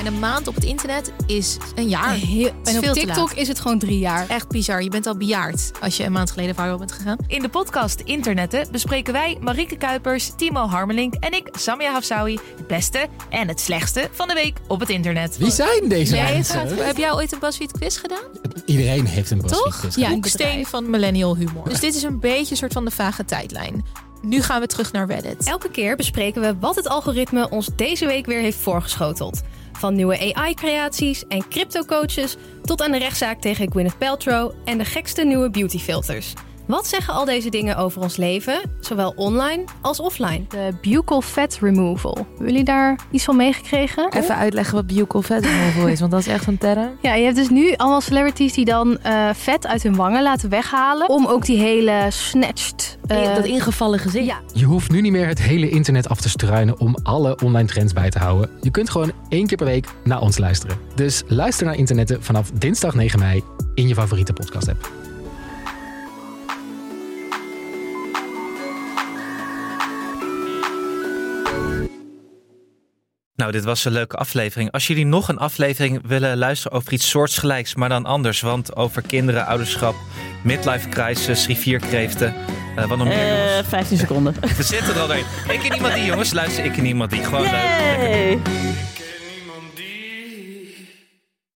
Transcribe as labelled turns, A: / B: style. A: En een maand op het internet is een jaar.
B: Heel-
A: Het is
B: en op
A: veel te
B: TikTok
A: laat.
B: is het gewoon drie jaar.
A: Echt bizar. Je bent al bejaard als je een maand geleden viral bent gegaan.
C: In de podcast Internetten bespreken wij, Marieke Kuipers, Timo Harmelink en ik, Samia Hafsawi, het beste en het slechtste van de week op het internet.
D: Wie zijn deze
A: Jij
D: mensen?
A: gaat- heb jij ooit een BuzzFeed quiz gedaan?
D: Iedereen heeft een
A: Toch?
D: BuzzFeed quiz.
B: Ja, een
A: Hoeksteen
B: bedrijf.
A: van millennial humor. Dus dit is een beetje een soort van de vage tijdlijn. Nu gaan we terug naar Reddit.
E: Elke keer bespreken we wat het algoritme ons deze week weer heeft voorgeschoteld. Van nieuwe AI-creaties en crypto-coaches tot aan de rechtszaak tegen Gwyneth Paltrow en de gekste nieuwe beautyfilters. Wat zeggen al deze dingen over ons leven, zowel online als offline?
F: De buccal fat removal. Hebben jullie daar iets van meegekregen?
G: Even uitleggen wat buccal fat removal is, want dat is echt een term.
F: Ja, je hebt dus nu allemaal celebrities die dan eh, vet uit hun wangen laten weghalen. Om ook die hele snatched... eh,
G: dat ingevallen gezicht.
F: ja,
D: Je hoeft nu niet meer het hele internet af te struinen om alle online trends bij te houden. Je kunt gewoon één keer per week naar ons luisteren. Dus luister naar internetten vanaf dinsdag 9 mei in je favoriete podcast app.
H: Nou, dit was een leuke aflevering. Als jullie nog een aflevering willen luisteren over iets soortgelijks, maar dan anders. Want over kinderen, ouderschap, midlife crisis, rivierkreeften. eh wat nog meer?
I: Eh,
H: jongens?
I: 15 seconden.
H: We zitten er al doorheen. Ik en iemand die, jongens. Luister, ik en iemand die. Gewoon leuk.
I: Yay!